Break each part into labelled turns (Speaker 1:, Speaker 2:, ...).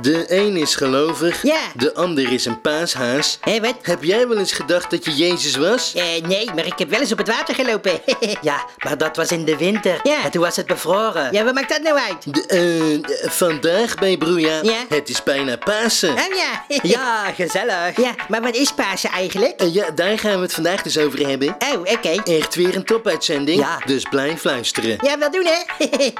Speaker 1: De een is gelovig,
Speaker 2: Ja.
Speaker 1: de ander is een paashaas.
Speaker 2: Hé, wat?
Speaker 1: Heb jij wel eens gedacht dat je Jezus was?
Speaker 2: Eh, nee, maar ik heb wel eens op het water gelopen. ja, maar dat was in de winter. Ja. En toen was het bevroren. Ja, wat maakt dat nou uit?
Speaker 1: De, eh, eh, vandaag bij Broeja,
Speaker 2: Ja.
Speaker 1: het is bijna Pasen.
Speaker 2: Oh ja.
Speaker 3: Ja, gezellig.
Speaker 2: Ja, maar wat is Pasen eigenlijk?
Speaker 1: En Eh, ja, daar gaan we het vandaag dus over hebben.
Speaker 2: Oh, oké.
Speaker 1: Echt weer een topuitzending,
Speaker 3: Ja.
Speaker 1: dus blijf luisteren.
Speaker 2: Ja, wel doen, hè?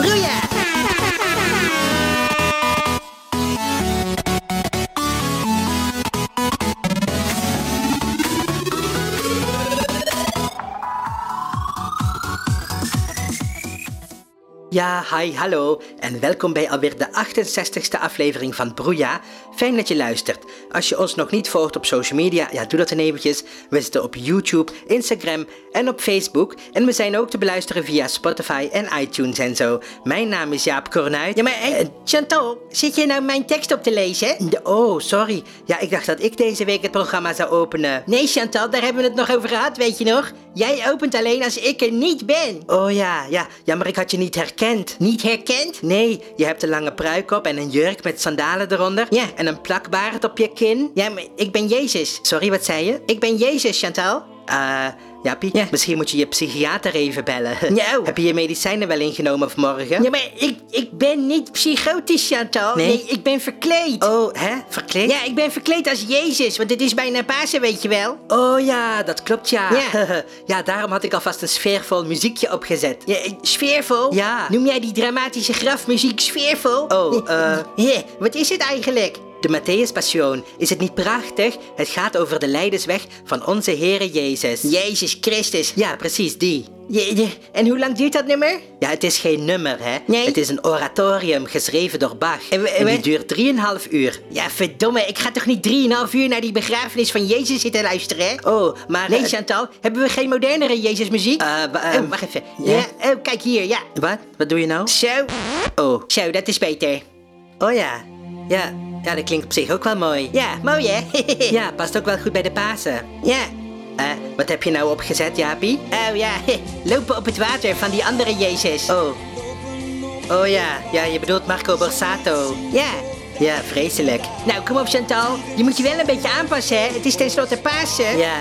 Speaker 2: Broeia! Ja, hi, hallo en welkom bij alweer de 68ste aflevering van Broeja. Fijn dat je luistert. Als je ons nog niet volgt op social media, ja, doe dat dan eventjes. We zitten op YouTube, Instagram en op Facebook. En we zijn ook te beluisteren via Spotify en iTunes en zo. Mijn naam is Jaap Kornuit. Ja, maar eh, Chantal, zit je nou mijn tekst op te lezen? Oh, sorry. Ja, ik dacht dat ik deze week het programma zou openen. Nee, Chantal, daar hebben we het nog over gehad, weet je nog? Jij opent alleen als ik er niet ben. Oh ja, ja, ja, maar ik had je niet herkend. Niet herkend? Nee, je hebt een lange pruik op en een jurk met sandalen eronder. Ja, en een plakbaard op je kin. Ja, maar ik ben Jezus. Sorry, wat zei je? Ik ben Jezus, Chantal. Eh, Jaapie, misschien moet je je psychiater even bellen. Nou. Heb je je medicijnen wel ingenomen vanmorgen? Ja, maar ik, ik ben niet psychotisch, Chantal. Nee?
Speaker 3: Nee,
Speaker 2: ik ben verkleed. Oh, hè? Verkleed? Ja, ik ben verkleed als Jezus, want het is bijna Pasen, weet je wel.
Speaker 3: Oh ja, dat klopt ja.
Speaker 2: Ja. ja, daarom had ik alvast een sfeervol muziekje opgezet. Ja, eh, sfeervol?
Speaker 3: Ja.
Speaker 2: Noem jij die dramatische grafmuziek sfeervol?
Speaker 3: Oh, eh.
Speaker 2: Hé, wat is het eigenlijk? De Matthäus Passion. Is het niet prachtig? Het gaat over de lijdensweg van onze Heere Jezus. Jezus Christus. Ja, precies, die. Je, je- en hoe lang duurt dat nummer? Ja, het is geen nummer, hè?
Speaker 3: Nee.
Speaker 2: Het is een oratorium geschreven door Bach.
Speaker 3: En we- en
Speaker 2: en die
Speaker 3: we-
Speaker 2: duurt 3,5 uur. Ja, verdomme, ik ga toch niet 3,5 uur naar die begrafenis van Jezus zitten luisteren, hè? Oh, maar... Nee, Chantal, hebben we geen modernere Jezus-muziek?
Speaker 3: Eh, wa- eh,
Speaker 2: oh, wacht even.
Speaker 3: ja?
Speaker 2: Ja, oh, kijk hier, ja.
Speaker 3: Wat? Wat doe je nou?
Speaker 2: Zo.
Speaker 3: Oh.
Speaker 2: Zo, dat is beter.
Speaker 3: Oh ja. Ja, ja dat klinkt op zich ook wel mooi.
Speaker 2: Ja, mooi, hè?
Speaker 3: Ja, past ook wel goed bij de Pasen.
Speaker 2: Ja.
Speaker 3: Eh, wat heb je nou opgezet, Jaapie?
Speaker 2: Oh ja, lopen op het water van die andere Jezus.
Speaker 3: Oh. Oh ja, ja, je bedoelt Marco Borsato.
Speaker 2: Ja.
Speaker 3: Ja, vreselijk.
Speaker 2: Nou, kom op Chantal. Je moet je wel een beetje aanpassen, hè? Het is tenslotte Pasen.
Speaker 3: Ja,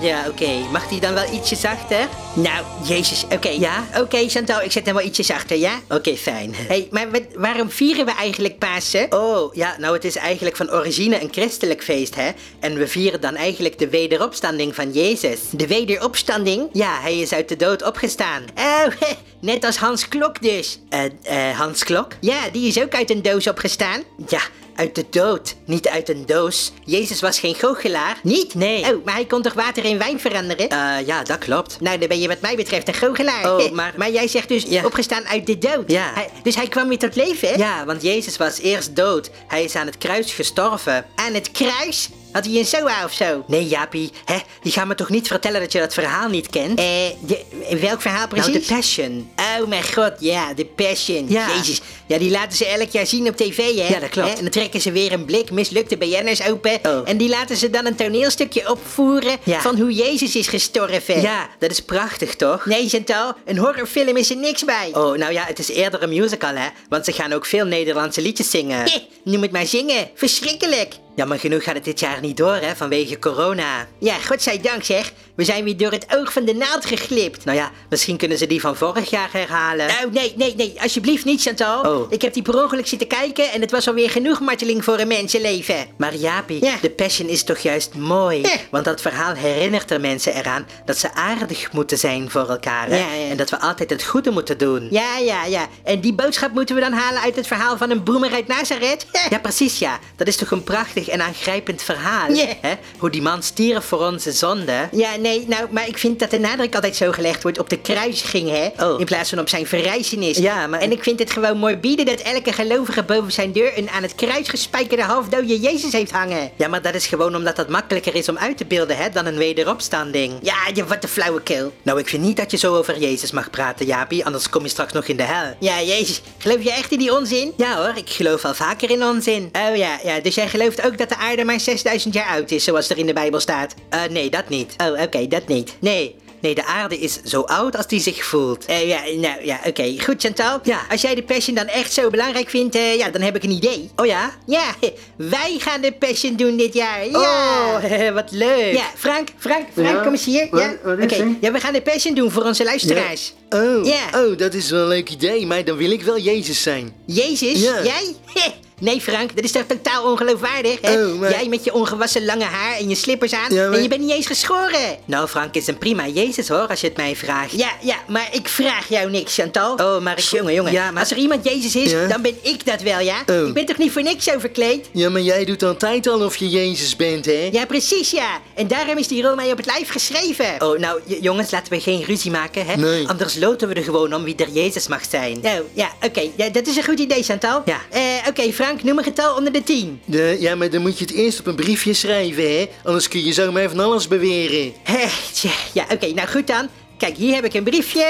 Speaker 3: m- ja, oké. Mag die dan wel ietsje zachter?
Speaker 2: Nou, Jezus, oké.
Speaker 3: Ja?
Speaker 2: Oké, Chantal, ik zet hem wel ietsjes achter, ja?
Speaker 3: Oké, fijn.
Speaker 2: Hé, hey, maar wat- waarom vieren we eigenlijk Pasen?
Speaker 3: Oh, ja, nou het is eigenlijk van origine een christelijk feest, hè? En we vieren dan eigenlijk de wederopstanding van Jezus.
Speaker 2: De wederopstanding?
Speaker 3: Ja, hij is uit de dood opgestaan.
Speaker 2: Oh, net als Hans Klok dus.
Speaker 3: Eh, eh, Hans Klok?
Speaker 2: Ja, die is ook uit een doos opgestaan.
Speaker 3: Ja, uit de dood, niet uit een doos. Jezus was geen goochelaar.
Speaker 2: Niet?
Speaker 3: Nee.
Speaker 2: Oh, maar hij kon toch water in wijn veranderen?
Speaker 3: Eh, ja, dat klopt.
Speaker 2: Nou, dan ben je wat mij betreft een goochelaar.
Speaker 3: Oh, maar-
Speaker 2: maar jij zegt dus
Speaker 3: Ja.
Speaker 2: opgestaan uit de dood.
Speaker 3: Ja.
Speaker 2: Hij- dus hij kwam weer tot leven, hè?
Speaker 3: Ja, want Jezus was eerst dood. Hij is aan het kruis gestorven.
Speaker 2: Aan het kruis? Had hij een zoa of zo?
Speaker 3: Nee, Jaapie, hè? Je gaat me toch niet vertellen dat je dat verhaal niet kent?
Speaker 2: Eh, de- welk verhaal precies?
Speaker 3: Nou, de Passion.
Speaker 2: Oh mijn god, ja, de Passion.
Speaker 3: Ja.
Speaker 2: Jezus. Ja, die laten ze elk jaar zien op tv, hè?
Speaker 3: Ja, dat klopt.
Speaker 2: Hè? En dan trekken ze weer een blik mislukte BN'ers open.
Speaker 3: Oh.
Speaker 2: En die laten ze dan een toneelstukje opvoeren
Speaker 3: Ja.
Speaker 2: van hoe Jezus is gestorven.
Speaker 3: Ja, dat is prachtig, toch?
Speaker 2: Nee, Chantal, een horrorfilm is er niks bij.
Speaker 3: Oh, nou ja, het is eerder een musical, hè? Want ze gaan ook veel Nederlandse liedjes zingen.
Speaker 2: Eh, noem het maar zingen. Verschrikkelijk.
Speaker 3: Ja, maar genoeg gaat het dit jaar niet door, hè? Vanwege corona.
Speaker 2: Ja, godzijdank zeg. We zijn weer door het oog van de naald geglipt.
Speaker 3: Nou ja, misschien kunnen ze die van vorig jaar herhalen.
Speaker 2: Oh, nee, nee, nee. Alsjeblieft niet, Chantal.
Speaker 3: Oh.
Speaker 2: Ik heb die per ongeluk zitten kijken en het was alweer genoeg marteling voor een mensenleven.
Speaker 3: Maar Jaapie,
Speaker 2: Ja.
Speaker 3: de passion is toch juist mooi?
Speaker 2: Ja.
Speaker 3: Want dat verhaal herinnert er mensen eraan dat ze aardig moeten zijn voor elkaar. hè?
Speaker 2: Ja, ja.
Speaker 3: En dat we altijd het goede moeten doen.
Speaker 2: Ja, ja, ja. En die boodschap moeten we dan halen uit het verhaal van een broemer uit Nazareth?
Speaker 3: Ja, precies ja. Dat is toch een prachtig en aangrijpend verhaal.
Speaker 2: Ja.
Speaker 3: Hè? Hoe die man stierf voor onze zonde.
Speaker 2: Ja, nee, nou, maar ik vind dat de nadruk altijd zo gelegd wordt op de kruisiging, hè?
Speaker 3: Oh.
Speaker 2: In plaats van op zijn verrijzenis.
Speaker 3: Ja, maar-
Speaker 2: En ik vind het gewoon morbide dat elke gelovige boven zijn deur een aan het kruis gespijkerde halfdode Jezus heeft hangen.
Speaker 3: Ja, maar dat is gewoon omdat dat makkelijker is om uit te beelden hè, dan een wederopstanding.
Speaker 2: Ja, je- wat een flauwekul.
Speaker 3: Nou, ik vind niet dat je zo over Jezus mag praten, Jaapie, anders kom je straks nog in de hel.
Speaker 2: Ja, Jezus, geloof je echt in die onzin?
Speaker 3: Ja hoor, ik geloof al vaker in onzin.
Speaker 2: Oh ja, ja, dus jij gelooft ook dat de aarde maar 6000 jaar oud is, zoals er in de Bijbel staat.
Speaker 3: Eh, nee, dat niet.
Speaker 2: Oh, oké, dat niet.
Speaker 3: Nee,
Speaker 4: Nee, de aarde is zo oud als die zich voelt.
Speaker 2: Eh, ja, nou ja, oké. Goed, Chantal.
Speaker 4: Ja.
Speaker 2: Als jij de Passion dan echt zo belangrijk vindt, eh, ja, dan heb ik een idee.
Speaker 4: Oh ja?
Speaker 2: Ja, wij gaan de Passion doen dit jaar. Ja.
Speaker 4: Oh, wat leuk.
Speaker 2: Ja, Frank, Frank, Frank,
Speaker 1: Ja?
Speaker 2: kom eens hier.
Speaker 1: Wat-
Speaker 2: ja,
Speaker 1: wat is
Speaker 2: Oké,
Speaker 1: er?
Speaker 2: ja, we gaan de Passion doen voor onze luisteraars.
Speaker 1: Oh,
Speaker 2: Ja.
Speaker 1: oh, dat is wel een leuk idee, maar dan wil ik wel Jezus zijn.
Speaker 2: Jezus,
Speaker 1: Ja.
Speaker 2: jij? Nee, Frank, dat is toch totaal ongeloofwaardig, hè?
Speaker 1: Oh, maar-
Speaker 2: Jij met je ongewassen lange haar en je slippers aan
Speaker 1: Ja, maar-
Speaker 2: en je bent niet eens geschoren.
Speaker 4: Nou, Frank is een prima Jezus hoor, als je het mij vraagt.
Speaker 2: Ja, ja, maar ik vraag jou niks, Chantal.
Speaker 4: Oh, maar ik-
Speaker 2: Jongen, jongen,
Speaker 4: Ja, maar-
Speaker 2: als er iemand Jezus is,
Speaker 1: Ja?
Speaker 2: dan ben ik dat wel, ja?
Speaker 1: Oh.
Speaker 2: Ik ben toch niet voor niks zo verkleed?
Speaker 1: Ja, maar jij doet altijd al of je Jezus bent, hè?
Speaker 2: Ja, precies, ja. En daarom is die rol mij op het lijf geschreven.
Speaker 4: Oh, nou j- jongens, laten we geen ruzie maken, hè?
Speaker 1: Nee.
Speaker 4: Anders loten we er gewoon om wie er Jezus mag zijn.
Speaker 2: Nou, ja, oké. Ja, dat is een goed idee, Chantal.
Speaker 4: Ja.
Speaker 2: Eh, oké, Frank, noem een getal onder de 10.
Speaker 1: De- ja, maar dan moet je het eerst op een briefje schrijven, hè? Anders kun je zomaar van alles beweren.
Speaker 2: Eh, tja, ja, oké. nou, goed dan. Kijk, hier heb ik een briefje.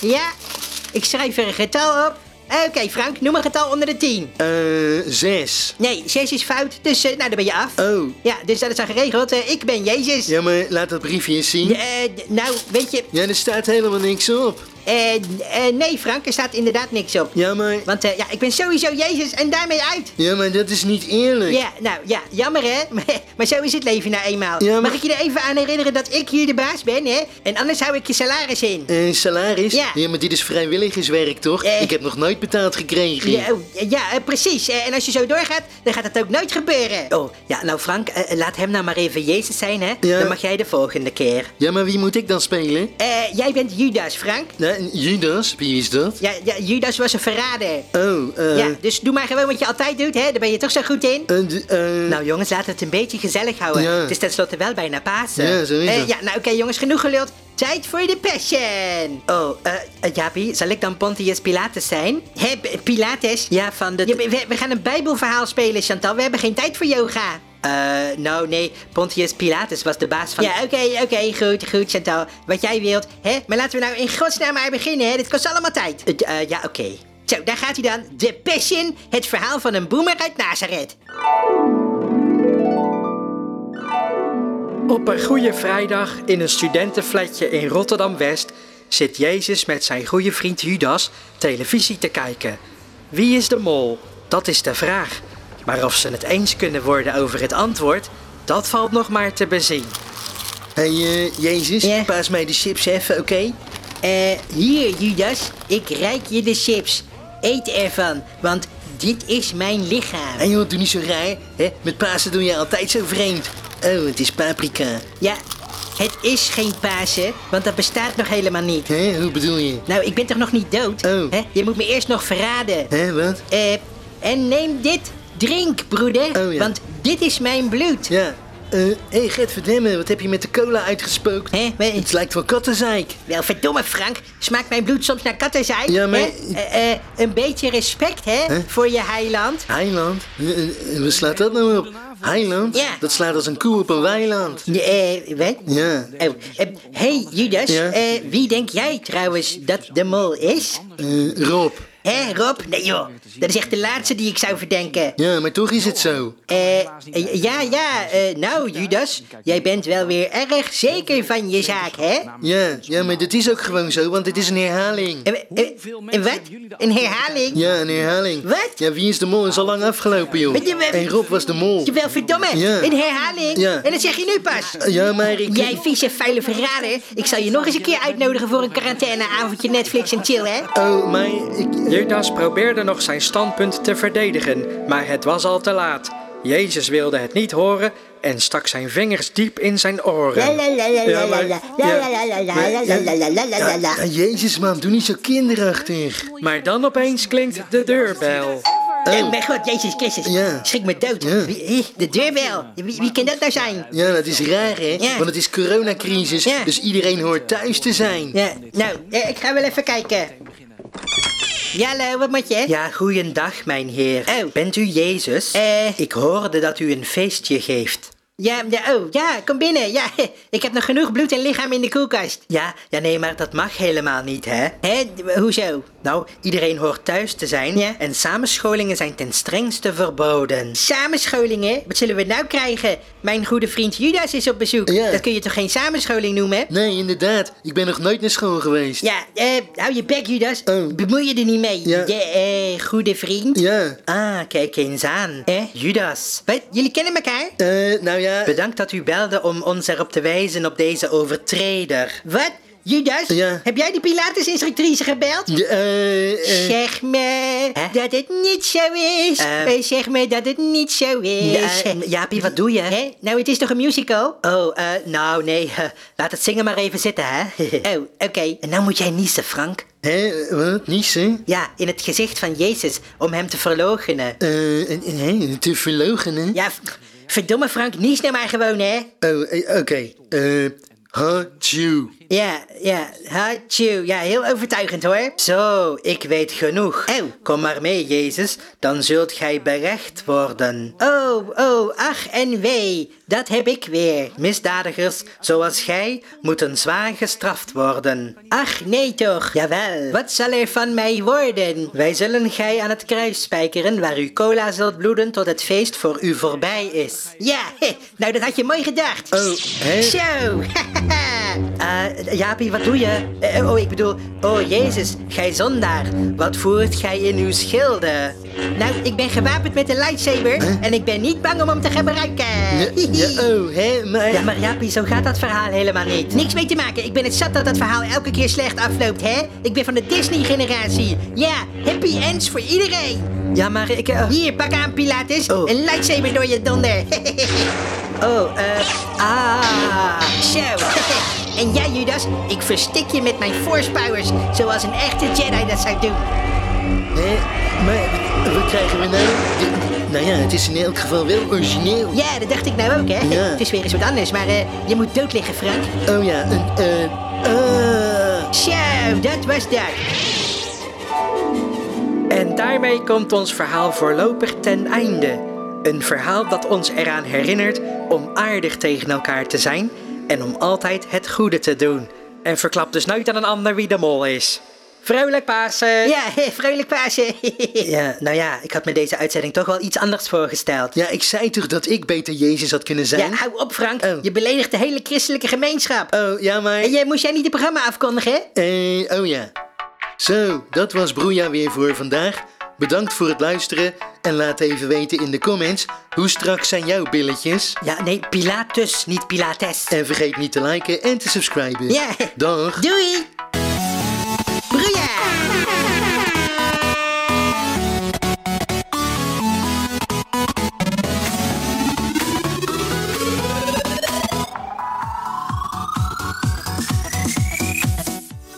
Speaker 2: Ja. Ik schrijf er een getal op. Eh, Oké, Frank, noem een getal onder de 10.
Speaker 1: Eh, zes.
Speaker 2: Nee, 6 is fout, dus eh, nou, dan ben je af.
Speaker 1: Oh.
Speaker 2: Ja, dus dat is dan geregeld. Eh, ik ben Jezus.
Speaker 1: Ja, maar laat dat briefje eens zien.
Speaker 2: Eh, d- nou, weet je,
Speaker 1: Ja, er staat helemaal niks op.
Speaker 2: eh, eh, nee Frank, er staat inderdaad niks op.
Speaker 1: Ja, maar...
Speaker 2: Want eh, ja, ik ben sowieso Jezus en daarmee uit.
Speaker 1: Ja, maar dat is niet eerlijk.
Speaker 2: Ja, nou ja, jammer hè. Maar zo is het leven nou eenmaal.
Speaker 1: Ja, maar-
Speaker 2: Mag ik je er even aan herinneren dat ik hier de baas ben hè? En anders hou ik je salaris in.
Speaker 1: Eh, salaris?
Speaker 2: Ja.
Speaker 1: maar dit is vrijwilligerswerk, toch?
Speaker 2: Eh.
Speaker 1: Ik heb nog nooit betaald gekregen.
Speaker 2: Ja, oh, ja, eh, precies. Eh, En als je zo doorgaat, dan gaat dat ook nooit gebeuren.
Speaker 4: Oh, ja, nou Frank, eh, laat hem nou maar even Jezus zijn, hè?
Speaker 1: Ja.
Speaker 4: Dan mag jij de volgende keer.
Speaker 1: Ja, maar wie moet ik dan spelen?
Speaker 2: Eh, jij bent Judas, Frank.
Speaker 1: Nou, Judas, wie is dat?
Speaker 2: Ja, ja, Judas was een verrader.
Speaker 1: Oh, eh...
Speaker 2: Ja, dus doe maar gewoon wat je altijd doet, hè? Daar ben je toch zo goed in.
Speaker 1: eh, d- eh,
Speaker 4: Nou jongens, laten we het een beetje gezellig houden.
Speaker 1: Ja.
Speaker 4: Het is tenslotte wel bijna Pasen.
Speaker 1: Ja, zo is
Speaker 2: Eh,
Speaker 1: het.
Speaker 2: ja, nou oké jongens, genoeg geluld. Tijd voor de passion.
Speaker 4: Oh, eh eh, Jaapie, zal ik dan Pontius Pilatus zijn?
Speaker 2: Hè, P- Pilates?
Speaker 4: Ja, van de...
Speaker 2: Ja, we, we gaan een bijbelverhaal spelen, Chantal. We hebben geen tijd voor yoga.
Speaker 4: Eh, nou nee, Pontius Pilatus was de baas van...
Speaker 2: Ja, oké, oké, goed, goed, Chantal. Wat jij wilt, hè? Maar laten we nou in godsnaam maar beginnen, hè? Dit kost allemaal tijd.
Speaker 4: Eh, eh, ja, oké.
Speaker 2: Zo, daar gaat hij dan. De Passion, het verhaal van een boemer uit Nazareth.
Speaker 4: Op een Goede Vrijdag in een studentenflatje in Rotterdam-West zit Jezus met zijn goede vriend Judas televisie te kijken. Wie is de mol? Dat is de vraag. Maar of ze het eens kunnen worden over het antwoord, dat valt nog maar te bezien.
Speaker 1: hey, eh, Jezus,
Speaker 2: Ja.
Speaker 1: paas mij de chips even, oké?
Speaker 2: Eh, hier, Judas, ik reik je de chips. Eet ervan, want dit is mijn lichaam.
Speaker 1: Hé joh, doe niet zo raar, hè? Met Pasen doe je altijd zo vreemd. Oh, het is paprika.
Speaker 2: Ja, het is geen Pasen, want dat bestaat nog helemaal niet.
Speaker 1: Hè, hoe bedoel je?
Speaker 2: Nou, ik ben toch nog niet dood?
Speaker 1: Oh.
Speaker 2: Hè? Je moet me eerst nog verraden.
Speaker 1: Hè, wat?
Speaker 2: Eh, en neem dit. Drink, broeder,
Speaker 1: Oh, ja.
Speaker 2: want dit is mijn bloed.
Speaker 1: Ja. Eh, hé, hey, Gert, verdamme, wat heb je met de cola uitgespookt?
Speaker 2: Hè, maar-
Speaker 1: Het lijkt wel kattenzeik.
Speaker 2: Wel, verdomme Frank, smaakt mijn bloed soms naar kattenzaai?
Speaker 1: Ja, maar-
Speaker 2: hè? Eh, eh, een beetje respect, hè,
Speaker 1: Hè?
Speaker 2: voor je heiland.
Speaker 1: Heiland? Eh, eh, Wat slaat dat nou op? Heiland?
Speaker 2: Ja.
Speaker 1: Dat slaat als een koe op een weiland.
Speaker 2: Eh, wat?
Speaker 1: Ja.
Speaker 2: Oh, eh, hey Judas,
Speaker 1: Ja?
Speaker 2: eh, wie denk jij trouwens dat de mol is?
Speaker 1: Eh, Rob.
Speaker 2: Hé, Rob? Nee joh, dat is echt de laatste die ik zou verdenken.
Speaker 1: Ja, maar toch is het zo.
Speaker 2: Eh, eh, ja, ja, eh, nou Judas, jij bent wel weer erg zeker van je zaak, hè? Eh,
Speaker 1: Ja, ja, maar dat is ook gewoon zo, want het is een herhaling.
Speaker 2: Eh, eh, eh, wat? Een herhaling?
Speaker 1: Ja, een herhaling.
Speaker 2: Wat?
Speaker 1: Ja, wie is de mol is al lang afgelopen, joh.
Speaker 2: Wat je- wat-
Speaker 1: En Rob was de mol.
Speaker 2: Wel verdomme,
Speaker 1: Ja.
Speaker 2: een herhaling?
Speaker 1: Ja.
Speaker 2: En dat zeg je nu pas.
Speaker 1: Ja, maar ik...
Speaker 2: Jij vieze vuile verrader. Ik zal je nog eens een keer uitnodigen voor een quarantaineavondje Netflix en chill, hè?
Speaker 1: Oh, maar ik...
Speaker 4: Judas probeerde nog zijn standpunt te verdedigen, maar het was al te laat. Jezus wilde het niet horen en stak zijn vingers diep in zijn oren.
Speaker 1: Ja, maar- ja, Ja, ja, ah, Jezus, man, doe niet zo kinderachtig.
Speaker 4: Maar dan opeens klinkt de deurbel.
Speaker 2: Oh mijn god, Jezus Christus.
Speaker 1: Ja.
Speaker 2: Schrik me dood.
Speaker 1: Ja.
Speaker 2: Wie- eh, de deurbel. Wie, wie kan dat nou zijn?
Speaker 1: Ja, dat is raar, hè?
Speaker 2: Ja.
Speaker 1: Want het is coronacrisis,
Speaker 2: Ja.
Speaker 1: dus iedereen hoort thuis te zijn.
Speaker 2: Ja, nou, eh, ik ga wel even kijken. Jelle, wat moet je?
Speaker 4: Ja, goeiedag, mijn heer.
Speaker 2: Oh.
Speaker 4: Bent u Jezus?
Speaker 2: Eh.
Speaker 4: Ik hoorde dat u een feestje geeft.
Speaker 2: Ja, ja, oh, ja, kom binnen. Ja, ik heb nog genoeg bloed en lichaam in de koelkast.
Speaker 4: Ja, ja, nee, maar dat mag helemaal niet, hè?
Speaker 2: Hè, d- hoezo?
Speaker 4: Nou, iedereen hoort thuis te zijn
Speaker 2: Ja.
Speaker 4: en samenscholingen zijn ten strengste verboden.
Speaker 2: Samenscholingen? Wat zullen we nou krijgen? Mijn goede vriend Judas is op bezoek.
Speaker 1: Ja.
Speaker 2: Dat kun je toch geen samenscholing noemen?
Speaker 1: Nee, inderdaad. Ik ben nog nooit naar school geweest.
Speaker 2: Ja, eh, hou je bek Judas.
Speaker 1: Oh.
Speaker 2: Bemoei je er niet mee.
Speaker 1: Ja.
Speaker 2: Je eh, goede vriend.
Speaker 1: Ja.
Speaker 4: Ah, kijk eens aan.
Speaker 2: Eh?
Speaker 4: Judas.
Speaker 2: Wat? Jullie kennen elkaar?
Speaker 1: Eh, nou ja.
Speaker 4: Bedankt dat u belde om ons erop te wijzen op deze overtreder.
Speaker 2: Wat? Judas?
Speaker 1: Ja.
Speaker 2: Heb jij die Pilates-instructrice gebeld?
Speaker 1: Ja, eh, eh,
Speaker 2: Zeg me
Speaker 4: Hè?
Speaker 2: dat het niet zo is.
Speaker 4: Eh.
Speaker 2: Eh, zeg me dat het niet zo is.
Speaker 4: Eh, Jaapie, wat doe je?
Speaker 2: Hè? Nou, het is toch een musical?
Speaker 4: Oh, eh, nou nee, eh, laat het zingen maar even zitten, hè?
Speaker 2: Oh, oké.
Speaker 4: en nou moet jij niezen, Frank.
Speaker 1: hè, wat? Niezen?
Speaker 4: Ja, in het gezicht van Jezus, om hem te verloochenen.
Speaker 1: Eh, en- en- hè, te verlogen, hè?
Speaker 2: Ja, v- verdomme Frank, nies nou maar gewoon, hè.
Speaker 1: Oh, eh, oké. Eh, hot you.
Speaker 2: Ja, ja, hachu. Ja, heel overtuigend, hoor.
Speaker 4: Zo, ik weet genoeg.
Speaker 2: Au.
Speaker 4: Kom maar mee, Jezus, dan zult gij berecht worden.
Speaker 2: Oh, oh, ach en wee. Dat heb ik weer.
Speaker 4: Misdadigers zoals gij moeten zwaar gestraft worden.
Speaker 2: Ach, nee toch.
Speaker 4: Jawel.
Speaker 2: Wat zal er van mij worden?
Speaker 4: Wij zullen gij aan het kruis spijkeren waar uw cola zult bloeden tot het feest voor u voorbij is.
Speaker 2: Ja, hè, nou dat had je mooi gedacht.
Speaker 1: Oh, hè?
Speaker 2: Zo, haha.
Speaker 4: Eh, Jaapie, wat doe je? Eh, oh, ik bedoel, oh Jezus, gij zondaar, wat voert gij in uw schilden?
Speaker 2: nou, ik ben gewapend met een lightsaber en ik ben niet bang om hem te gebruiken.
Speaker 1: Ja, oh, hè, maar...
Speaker 4: Ja, Eh, maar Jaapie, zo gaat dat verhaal helemaal niet.
Speaker 2: Niks mee te maken. Ik ben het zat dat dat verhaal elke keer slecht afloopt, hè? Ik ben van de Disney-generatie. Ja, happy ends voor iedereen.
Speaker 4: Ja, maar ik... eh,
Speaker 2: Hier, pak aan, Pilatus.
Speaker 4: Oh.
Speaker 2: Een lightsaber door je donder.
Speaker 4: oh, eh... ah...
Speaker 2: Zo. en jij, Judas, ik verstik je met mijn force powers, zoals een echte Jedi dat zou doen.
Speaker 1: Hè, maar wat krijgen we nou? Ja, Nou ja, het is in elk geval wel origineel.
Speaker 2: Ja, dat dacht ik nou ook, hè?
Speaker 1: Ja.
Speaker 2: Het is weer eens wat anders, maar eh, je moet dood liggen, Frank.
Speaker 1: Oh ja, een... eh, ah.
Speaker 2: Zo, dat was dat.
Speaker 4: En daarmee komt ons verhaal voorlopig ten einde. Een verhaal dat ons eraan herinnert om aardig tegen elkaar te zijn en om altijd het goede te doen. En verklap dus nooit aan een ander wie de mol is. Vrolijk Pasen!
Speaker 2: Ja, vrolijk Pasen.
Speaker 4: Ja, nou ja, ik had me deze uitzending toch wel iets anders voorgesteld.
Speaker 1: Ja, ik zei toch dat ik beter Jezus had kunnen
Speaker 2: Ja,
Speaker 1: zijn?
Speaker 2: hou op, Frank.
Speaker 1: Oh.
Speaker 2: Je beledigt de hele christelijke gemeenschap.
Speaker 1: Oh, ja, maar...
Speaker 2: En jij moest jij niet het programma afkondigen?
Speaker 1: Eh, oh ja. Zo, dat was Broeja weer voor vandaag. Bedankt voor het luisteren en laat even weten in de comments hoe strak zijn jouw billetjes.
Speaker 4: Ja, nee, Pilatus, niet Pilates.
Speaker 1: En vergeet niet te liken en te subscriben.
Speaker 2: Ja.
Speaker 1: Dag.
Speaker 2: Doei! Bruja!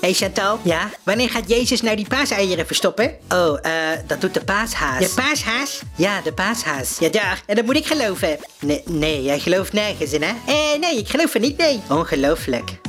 Speaker 2: Hey Chantal,
Speaker 4: Ja?
Speaker 2: wanneer gaat Jezus nou die paaseieren verstoppen?
Speaker 4: Oh, eh, dat doet de paashaas.
Speaker 2: De paashaas?
Speaker 4: ja, de paashaas.
Speaker 2: Ja, daar. En dat moet ik geloven.
Speaker 4: Nee, nee, jij gelooft nergens in, hè?
Speaker 2: Eh, nee, ik geloof er niet, nee.
Speaker 4: Ongelooflijk.